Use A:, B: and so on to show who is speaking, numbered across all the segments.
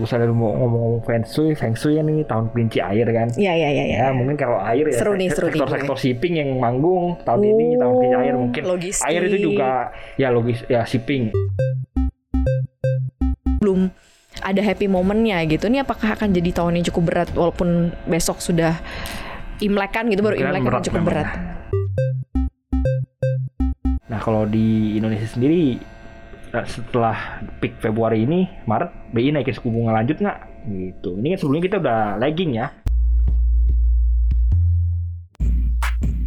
A: misalnya lu mau ngomong-ngomong feng shui, feng shui kan ini tahun kelinci air kan.
B: Iya iya iya.
A: Ya, mungkin kalau air ya
B: Seru nih, seru nih.
A: sektor-sektor shipping yang manggung tahun ini
B: Oh,
A: tahun kelinci air mungkin.
B: logistik.
A: Air itu juga ya logis ya shipping.
B: Belum ada happy momennya gitu. Ini apakah akan jadi tahun yang cukup berat walaupun besok sudah Imlek kan gitu baru
A: Kemungkinan
B: Imlek kan cukup
A: memang. ya.
B: berat.
A: Nah, kalau di Indonesia sendiri eh, setelah peak Februari ini, Maret BI naikin suku bunga lanjut nggak? Gitu. Ini kan sebelumnya kita udah lagging ya.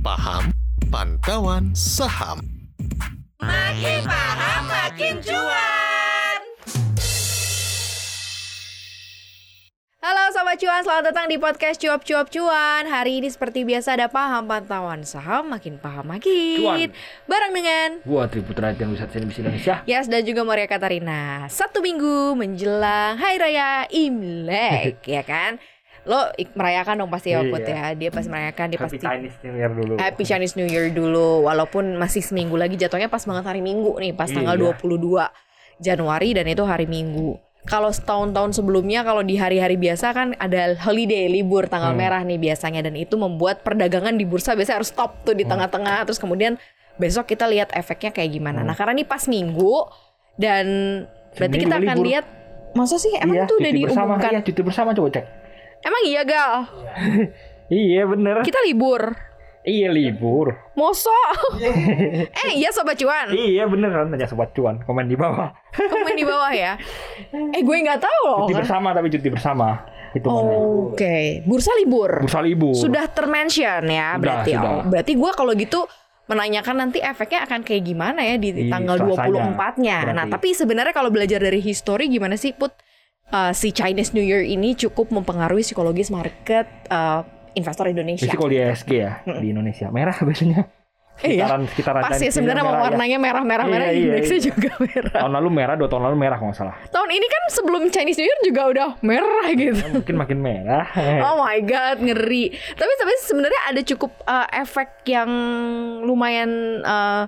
C: Paham Pantauan Saham.
B: Halo Sobat Cuan, selamat datang di podcast Cuap Cuap Cuan Hari ini seperti biasa ada paham pantauan saham, makin paham makin
A: Cuan.
B: Bareng dengan
A: Gua Tri Putra dan Wisata CNBC Indonesia.
B: Yas dan juga Maria Katarina Satu minggu menjelang Hari Raya Imlek, ya kan? Lo ik- merayakan dong pasti ya,
A: Iya.
B: Put, ya Dia pas merayakan, dia
A: Happy
B: pasti
A: Chinese New Year dulu.
B: Happy Chinese New Year dulu Walaupun masih seminggu lagi jatuhnya pas banget hari Minggu nih Pas tanggal
A: Iya.
B: 22 Januari dan itu hari Minggu Kalau setahun-tahun sebelumnya Kalau di hari-hari biasa kan ada holiday libur tanggal
A: Hmm.
B: merah nih biasanya Dan itu membuat perdagangan di bursa biasanya harus stop tuh di
A: Hmm.
B: tengah-tengah Terus kemudian besok kita lihat efeknya kayak gimana
A: Hmm.
B: Nah karena ini pas Minggu Dan berarti
A: Sebenarnya
B: kita
A: juga
B: akan
A: libur.
B: lihat Masa sih emang
A: Iya,
B: itu udah
A: cuti bersama.
B: diumumkan
A: Iya, cuti bersama coba cek.
B: Emang iya Gal?
A: Iya, bener.
B: Kita libur
A: Iya, libur.
B: Moso Eh iya Sobat Cuan
A: Iya, bener kan tanya sobat cuan. Komen di bawah.
B: komen di bawah ya. Eh gue nggak tahu loh.
A: Cuti
B: Kan?
A: bersama tapi cuti bersama. Itu
B: Oh, Oke, bursa libur.
A: Bursa libur.
B: Sudah termention
A: Sudah,
B: ya berarti.
A: sudah.
B: Oh, berarti gue kalau gitu menanyakan nanti efeknya akan kayak gimana ya di,
A: Di
B: tanggal
A: Selasanya,
B: 24-nya. Nah,
A: Iya, berarti.
B: tapi sebenarnya kalau belajar dari history gimana sih Put Eh, si Chinese New Year ini cukup mempengaruhi psikologis market eh, investor Indonesia.
A: Jadi kalau di ESG ya di Indonesia merah biasanya.
B: Iya.
A: Sekitaran sekitaran
B: Pasti
A: Chinese New
B: sebenarnya
A: Year
B: mau
A: merah, ya.
B: warnanya merah-merah merah,
A: Iya, iya,
B: indeksnya
A: iya.
B: juga merah.
A: Tahun lalu merah, dua tahun lalu merah kalau nggak salah.
B: Tahun ini kan sebelum Chinese New Year juga udah merah gitu.
A: Ya, mungkin makin merah.
B: Oh my god, ngeri. Tapi tapi sebenarnya ada cukup uh, efek yang lumayan uh,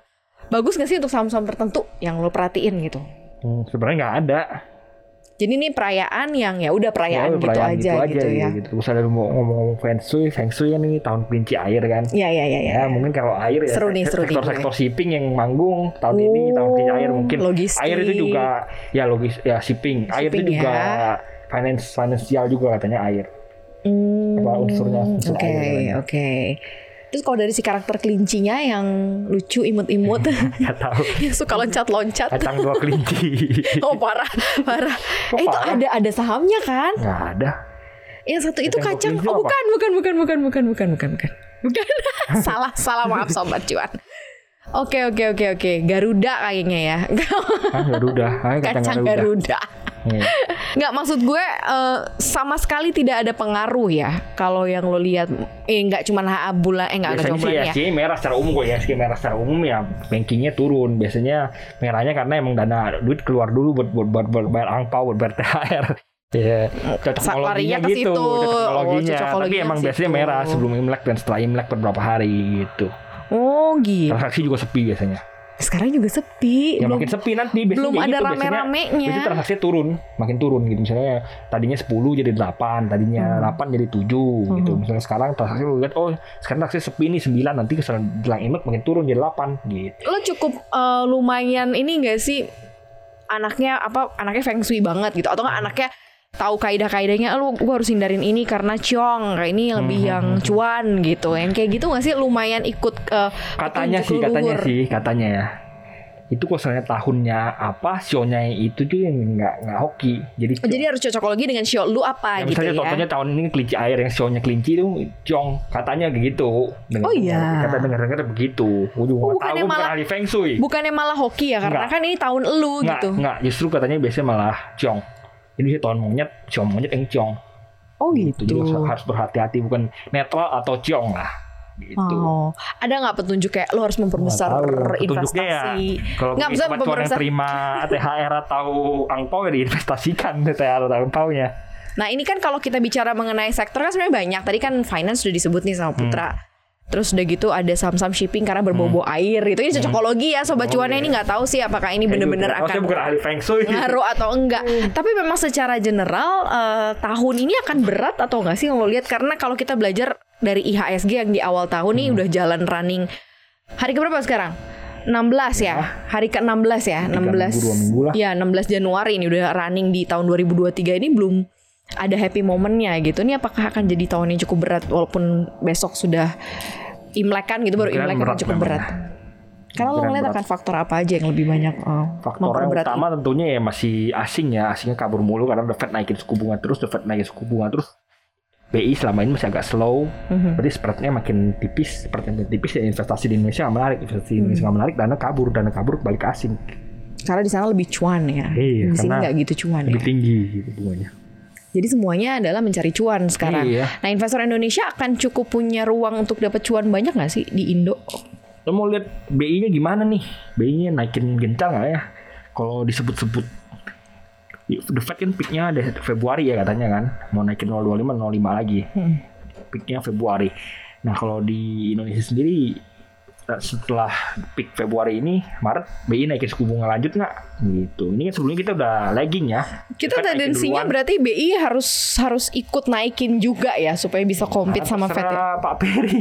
B: bagus gak sih untuk saham-saham tertentu yang lo perhatiin gitu.
A: Hmm, Sebenarnya nggak ada.
B: Jadi ini perayaan yang ya udah perayaan,
A: Ya,
B: gitu,
A: perayaan
B: aja, gitu ya.
A: Gitu. Misalnya lu mau ngomong-ngomong feng shui, feng shui kan ini tahun kelinci air kan.
B: Iya iya iya iya.
A: Ya, mungkin kalau air ya
B: Seru nih, seru nih.
A: sektor-sektor shipping yang manggung tahun ini
B: Oh,
A: tahun kelinci air mungkin.
B: logistik.
A: Air itu juga ya logis ya shipping. air itu
B: Shipping
A: juga
B: ya.
A: finance finansial juga katanya air.
B: Hmm,
A: Apa unsurnya, unsur
B: Oke,
A: airnya.
B: oke. Terus kalau dari si karakter kelincinya yang lucu imut-imut
A: Gak tahu.
B: yang suka loncat-loncat.
A: Kacang dua kelinci.
B: Oh parah, parah.
A: Kok
B: eh, itu
A: parah?
B: ada ada sahamnya kan?
A: Nggak ada.
B: Yang satu itu
A: Kacang
B: kacang.
A: hijau apa?
B: Oh bukan, bukan, bukan, bukan, bukan, bukan, bukan, bukan. Bukan. salah, salah maaf sobat cuan. Oke, oke, oke, oke. Garuda kayaknya ya.
A: Ah, Garuda. Ah, kacang,
B: kacang
A: Garuda.
B: Garuda.
A: Iya.
B: Nggak maksud gue eh, sama sekali tidak ada pengaruh ya. Kalau yang lo lihat eh nggak cuma bulan eh nggak
A: Biasanya Iya,
B: cuma
A: sih
B: bulan ya.
A: ESG merah secara umum kok ESG merah secara umum ya bankingnya turun biasanya merahnya karena emang dana duit keluar dulu buat buat buat, buat bayar angpau buat bayar THR ya cocokologinya
B: Larinya ke
A: gitu
B: situ.
A: cocokologinya
B: Oh,
A: tapi
B: cocokologinya
A: emang
B: ke
A: biasanya
B: situ.
A: merah sebelum imlek dan setelah imlek beberapa hari gitu
B: Oh gitu.
A: transaksi juga sepi biasanya
B: Sekarang juga sepi.
A: ya
B: belum
A: makin sepi nanti biasanya
B: belum
A: kayak
B: ada
A: gitu. Biasanya-
B: rame-ramenya.
A: Biasanya transaksi turun, makin turun gitu. Misalnya tadinya 10 jadi 8, tadinya 8 jadi 7 gitu.
B: Hmm.
A: Misalnya sekarang transaksi lu lihat oh sekarang transaksi sepi nih 9 nanti kesalahan jelang imlek makin turun jadi 8 gitu.
B: lo cukup eh, lumayan ini gak sih anaknya apa anaknya feng shui banget gitu atau nggak anaknya tahu kaidah-kaidahnya lu gue harus hindarin ini karena ciong kayak ini lebih
A: Mhm.
B: yang cuan gitu yang kayak gitu gak sih lumayan ikut eh,
A: Katanya sih,
B: petunjuk
A: katanya
B: leluhur.
A: sih, katanya ya. Itu kalau misalnya tahunnya apa, sionya itu tuh yang nggak nggak hoki. Jadi
B: Oh, jadi harus cocokologi dengan sio lu
A: Ya,
B: apa gitu
A: misalnya
B: ya
A: contohnya tahun ini kelinci air yang sionya kelinci itu ciong katanya gitu. Dengar-
B: Oh, iya. Oh,
A: Kata dengar-dengar begitu. Gue juga nggak tahu,
B: bukannya
A: gue bukan
B: malah-
A: ahli feng shui.
B: bukannya malah hoki ya karena
A: Nggak.
B: kan ini tahun elu
A: Nggak,
B: gitu
A: nggak. Justru katanya biasanya malah ciong. Jadi dia tahun monyet, ciong monyet yang ciong.
B: oh
A: Gitu, Jadi harus- harus berhati-hati bukan netral atau ciong lah. Gitu.
B: Oh, ada nggak petunjuk kayak lo harus memperbesar
A: Nggak tahu. Petunjuknya ya,
B: investasi?
A: Kalau
B: Nggak,
A: bagi
B: maksudnya
A: sobat cuan yang
B: pemeriksaan-
A: terima THR atau angpau ya diinvestasikan THR atau angpaunya. Hmm.
B: Nah ini kan kalau kita bicara mengenai sektor kan sebenarnya banyak. Tadi kan finance sudah disebut nih sama Putra. Terus udah gitu ada saham-saham shipping karena berbau-bau air gitu. Ini cocokologi ya sobat
A: Oh,
B: cuannya ini nggak tahu sih apakah ini bener-bener
A: iya. gitu. Maksudnya
B: akan
A: bukan ahli feng shui.
B: ngaruh atau enggak.
A: Hmm.
B: Tapi memang secara general eh, tahun ini akan berat atau enggak sih yang lo lihat karena kalau kita belajar dari IHSG yang di awal tahun
A: Hmm.
B: nih udah jalan running hari ke berapa sekarang? 16 ya. Hari ke-16 ya, 16.
A: Iya. minggu, dua minggu lah.
B: Ya, 16 Januari ini udah running di tahun 2023 ini belum ada happy momennya gitu. Ini apakah akan jadi tahun yang cukup berat walaupun besok sudah Imlek kan gitu baru
A: Kemungkinan
B: Imlek kan
A: berat
B: cukup
A: memang.
B: berat. Kalau lo
A: Kemungkinan
B: ngeliat
A: berat.
B: akan faktor apa aja yang lebih banyak eh,
A: Faktor yang
B: memperberat
A: utama tentunya ya masih asing ya, asingnya kabur mulu karena The Fed naikin suku bunga terus, The Fed naikin suku bunga terus. BI selama ini masih agak slow,
B: Mhm.
A: berarti spreadnya makin tipis, spreadnya makin tipis dan investasi di Indonesia nggak menarik, investasi di Indonesia nggak menarik, dana kabur, dana kabur balik ke asing,
B: Iya. Karena di sana lebih cuan ya.
A: Iya,
B: di sini
A: karena
B: nggak gitu cuan ya.
A: lebih tinggi gitu bunganya.
B: Jadi semuanya adalah mencari cuan sekarang.
A: Iya.
B: Nah, investor Indonesia akan cukup punya ruang untuk dapat cuan banyak nggak sih di Indo?
A: Lo mau lihat BI-nya gimana nih? BI-nya naikin gencar nggak ya? Kalau disebut-sebut The Fed kan peaknya ada Februari ya katanya kan mau naikin 0,25 0,5 lagi
B: Hmm.
A: peaknya Februari nah kalau di Indonesia sendiri eh, setelah peak Februari ini Maret BI naikin suku bunga lanjut nggak gitu ini kan sebelumnya kita udah lagging ya
B: Kita
A: The Fed naikin
B: tendensinya
A: duluan.
B: berarti BI harus harus ikut naikin juga ya supaya bisa compete sama Fed
A: Ah, Terserah
B: ya.
A: Pak Peri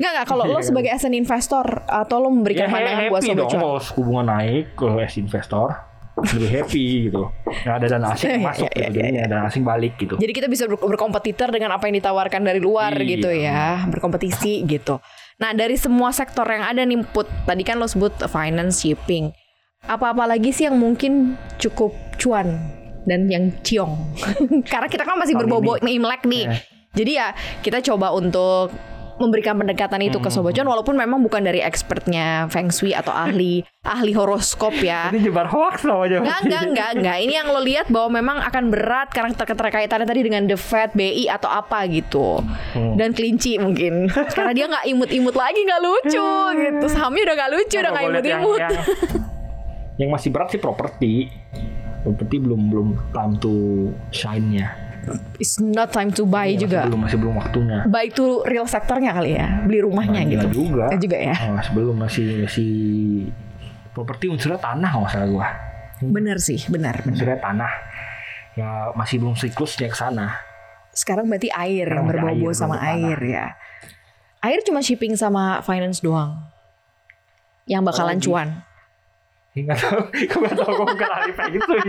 B: Enggak enggak kalau lo sebagai asset investor atau lo memberikan pandangan buat
A: Iya. Ya, happy
B: sobat
A: dong
B: cuan.
A: kalau suku bunga naik kalau as investor lebih happy gitu nggak ada dana asing yang
B: Iya,
A: masuk
B: iya,
A: gitu jadinya dana asing balik gitu
B: Jadi kita bisa ber- berkompetitor dengan apa yang ditawarkan dari luar
A: Iya.
B: gitu ya, berkompetisi gitu. Nah, dari semua sektor yang ada nih Put, tadi kan lo sebut finance, shipping. Apa-apa lagi sih yang mungkin cukup cuan dan yang ciong. Karena kita kan masih
A: Tahun
B: berbobo Imlek nih.
A: Iya.
B: Jadi ya kita coba untuk memberikan pendekatan itu
A: Hmm.
B: ke sobat cuan walaupun memang bukan dari expertnya feng shui atau ahli ahli horoskop ya.
A: ini jebar hoax namanya
B: Enggak, enggak, enggak, enggak. Ini yang lo lihat bahwa memang akan berat karena ter- keterkaitannya tadi dengan The Fed, BI atau apa gitu.
A: Hmm.
B: Dan kelinci mungkin. Karena dia nggak imut-imut lagi, nggak lucu gitu. Sahamnya udah nggak lucu, udah
A: Kalau
B: nggak
A: gua lihat yang-
B: imut-imut.
A: yang, yang masih berat sih properti properti belum belum time to shine nya
B: It's not time to buy Iya juga.
A: belum Iya, masih belum waktunya
B: Buy to real sektornya kali ya, beli rumahnya
A: Nggak
B: gitu.
A: juga
B: Nggak juga ya.
A: Oh, sebelum masih masih properti unsurnya tanah nggak salah gua Hmm.
B: Bener sih, benar, benar.
A: unsurnya tanah ya masih belum siklusnya ke sana
B: Sekarang berarti air
A: Sekarang berarti
B: berbobo
A: air,
B: sama
A: berbobo
B: air ya. Air cuma shipping sama finance doang. Yang bakalan
A: Apalagi?
B: cuan.
A: Enggak tahu, gue nggak tahu gue bukan ahli gitu. feng shui.
B: Kan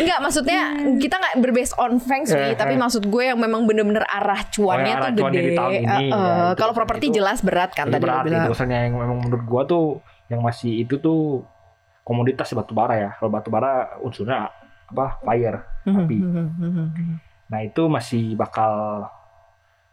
B: Enggak, maksudnya kita nggak berbased on feng shui,
A: Eh, eh.
B: tapi maksud gue yang memang bener-bener arah
A: Oh, yang
B: cuannya tuh
A: arah cuan
B: gede.
A: dari tahun ini,
B: Eh,
A: ya,
B: eh,
A: itu
B: kalau
A: kan
B: properti
A: itu.
B: jelas berat kan tadi lo
A: Berarti
B: bilang.
A: dosennya yang memang menurut gua tuh yang masih itu tuh komoditas batu bara ya. Kalau batu bara unsurnya apa fire.
B: Mhm,
A: api.
B: mhm, mhm, mhm.
A: Nah itu masih bakal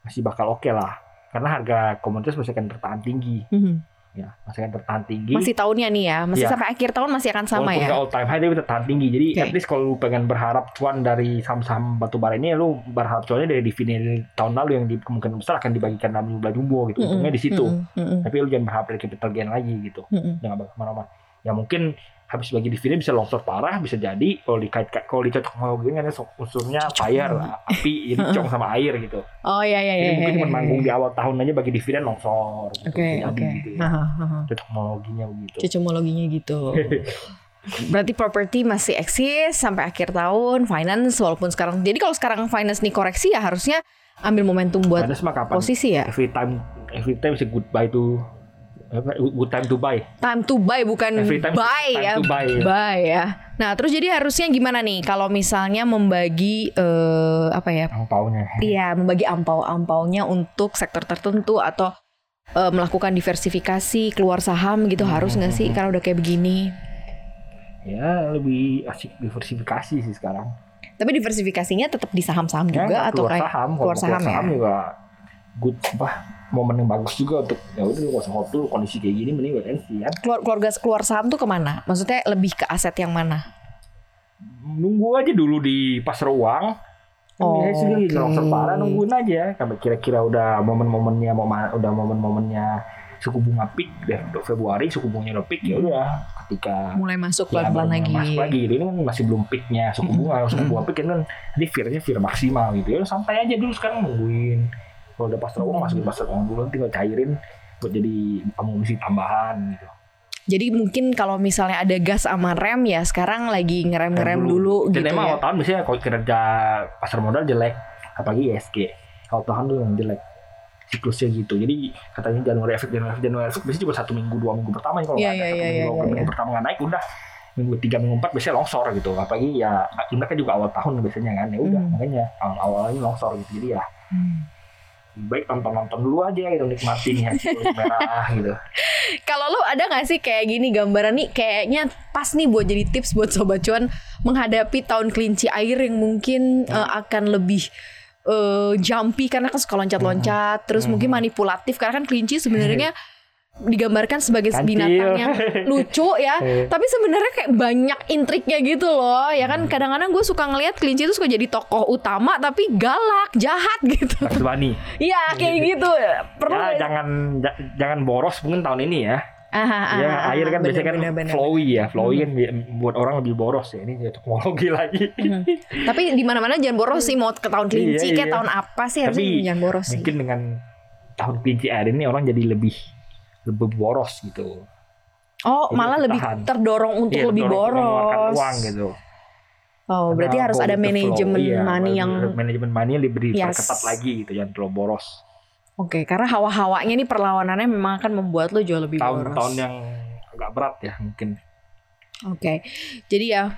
A: masih bakal oke lah. Karena harga komoditas masih akan tertahan tinggi.
B: Mhm.
A: Ya, masih akan tertahan tinggi.
B: Masih tahunnya nih ya, masih
A: Iya.
B: sampai akhir tahun masih akan sama
A: Walaupun
B: ya.
A: nggak all time high tapi tertahan tinggi. Jadi
B: Oke.
A: at least kalau lu pengen berharap cuan dari saham-saham batu bara ini, ya lu berharap cuannya dari dividen tahun lalu yang di, kemungkinan besar akan dibagikan dalam jumlah jumbo gitu.
B: Mhm,
A: Untungnya di situ.
B: mhm, mhm,
A: Tapi lu jangan berharap dari capital gain lagi gitu.
B: mhm.
A: udah nggak bakal kemana-mana ya mungkin habis bagi dividen bisa longsor parah bisa jadi kalau dikait kalau dicocok mau gini kan unsurnya fire lah, api jadi cong sama air gitu
B: Oh iya iya iya.
A: jadi mungkin
B: iya,
A: cuma
B: iya,
A: manggung di
B: iya.
A: awal tahun aja bagi dividen longsor gitu.
B: Oke
A: Jadi
B: oke. Nah.
A: gitu ya.
B: Haha, haha.
A: cocokologinya begitu
B: Cocomologinya gitu. Berarti properti masih eksis sampai akhir tahun, finance walaupun sekarang. Jadi kalau sekarang finance nih koreksi ya harusnya ambil momentum buat
A: ada sama kapan
B: posisi ya.
A: every time every time is a good buy to apa, good time to buy
B: Time to buy bukan
A: Every time
B: buy
A: time
B: ya.
A: to buy.
B: ya. Nah, terus jadi harusnya gimana nih kalau misalnya membagi eh apa ya?
A: angpaunya
B: Iya, membagi ampau-ampaunya untuk sektor tertentu atau eh, melakukan diversifikasi keluar saham gitu
A: Hmm,
B: harus nggak sih karena udah kayak begini.
A: ya lebih asik diversifikasi sih sekarang
B: Tapi diversifikasinya tetap di saham-saham
A: Ya,
B: juga
A: nggak
B: atau
A: keluar
B: kayak
A: saham Kalau
B: keluar saham, ya.
A: juga good apa momen yang bagus juga untuk ya udah lu kosong waktu lu kondisi kayak gini mending wait and see kan
B: Keluar keluarga keluar saham tuh kemana? Maksudnya lebih ke aset yang mana?
A: nunggu aja dulu di pasar uang
B: Oh,
A: ya sendiri
B: oke.
A: longsor parah nungguin aja sampai kira-kira udah momen-momennya momen udah momen-momennya suku bunga peak deh untuk Februari suku bunganya udah peak ya udah ketika
B: Mulai masuk
A: ya,
B: pelan-pelan
A: baru
B: lagi.
A: masuk lagi gitu. ini kan masih belum peaknya suku bunga suku bunga peak kan nanti fearnya fear maksimal gitu ya santai aja dulu sekarang nungguin Kalau udah pasar uang masukin pasar uang dulu tinggal cairin buat jadi amunisi tambahan gitu.
B: Jadi mungkin kalau misalnya ada gas sama rem ya sekarang lagi ngerem-ngerem dulu
A: Dan
B: gitu
A: emang
B: ya.
A: awal tahun biasanya kalau kinerja pasar modal jelek, apalagi E ISG. Awal tahun tuh yang jelek siklusnya gitu. Jadi katanya Januari efek Januari efek Januari efek biasanya cuma satu minggu dua minggu pertama ya kalau
B: Iya,
A: nggak ada
B: iya,
A: satu
B: iya,
A: minggu,
B: iya,
A: dua minggu
B: iya.
A: pertama nggak naik udah minggu tiga minggu empat biasanya longsor gitu. Apalagi ya imlek kan juga awal tahun biasanya kan ya udah
B: Hmm.
A: makanya awal awalnya longsor gitu. Jadi ya
B: Hmm.
A: lebih baik nonton nonton dulu aja gitu nikmatin ya siklus merah gitu.
B: Kalau lo ada gak sih kayak gini gambaran nih kayaknya pas nih buat jadi tips buat sobat cuan menghadapi tahun kelinci air yang
A: Hmm.
B: mungkin eh, akan lebih eh, jumpy karena kan suka loncat-loncat
A: Hmm.
B: terus mungkin manipulatif karena kan kelinci sebenarnya digambarkan sebagai
A: Kancil.
B: binatang yang lucu ya
A: Iya.
B: tapi sebenarnya kayak banyak intriknya gitu loh ya
A: Hmm.
B: kan kadang-kadang gue suka ngelihat kelinci itu suka jadi tokoh utama tapi galak jahat gitu
A: Bugs Bunny.
B: iya kayak gitu perlu
A: Ya,
B: nggak sih?
A: jangan ja- jangan boros mungkin tahun ini ya.
B: Aha,
A: ya
B: aha,
A: air kan
B: aha,
A: biasanya kan
B: Ah, bener, bener, bener. Hmm.
A: flowy ya flowy kan bi- buat orang lebih boros ya ini ya teknologi lagi
B: Iya Hmm. Tapi di mana-mana jangan boros sih mau ke tahun kelinci
A: Iya,
B: kayak
A: iya.
B: tahun apa sih harusnya
A: tapi
B: jangan boros sih.
A: mungkin dengan tahun kelinci air ini orang jadi lebih lebih boros gitu
B: Oh,
A: Iya,
B: malah lebih
A: tahan.
B: terdorong untuk
A: Iya,
B: lebih
A: dorong untuk mengeluarkan
B: boros.
A: uang gitu
B: Oh, berarti
A: Karena
B: harus
A: go with the
B: ada
A: flow.
B: manajemen
A: Iya,
B: money yang
A: manajemen money lebih diperketat
B: Yes.
A: lagi gitu jangan terlalu boros
B: oke karena hawa-hawanya nih perlawanannya memang akan membuat lo jauh lebih boros.
A: tahun-tahun yang agak berat ya mungkin
B: Oke. Jadi ya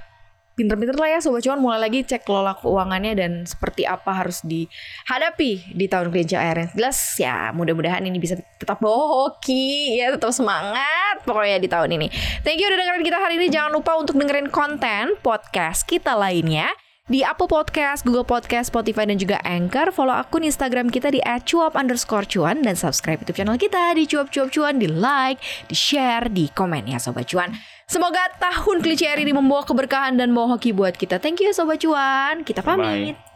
B: pinter-pinter lah ya sobat cuan mulai lagi cek kelola keuangannya dan seperti apa harus dihadapi di tahun kelinci air yang jelas ya mudah-mudahan ini bisa tetap hoki ya tetap semangat pokoknya di tahun ini thank you udah dengerin kita hari ini jangan lupa untuk dengerin konten podcast kita lainnya di Apple Podcast, Google Podcast, Spotify, dan juga Anchor. Follow akun Instagram kita di @cuap underscore cuan dan subscribe YouTube channel kita di cuap cuap cuan, di like, di share, di komen ya sobat cuan. Semoga tahun kelinci air ini membawa keberkahan dan bawa hoki buat kita. Thank you sobat cuan. Kita
A: Bye-bye.
B: pamit.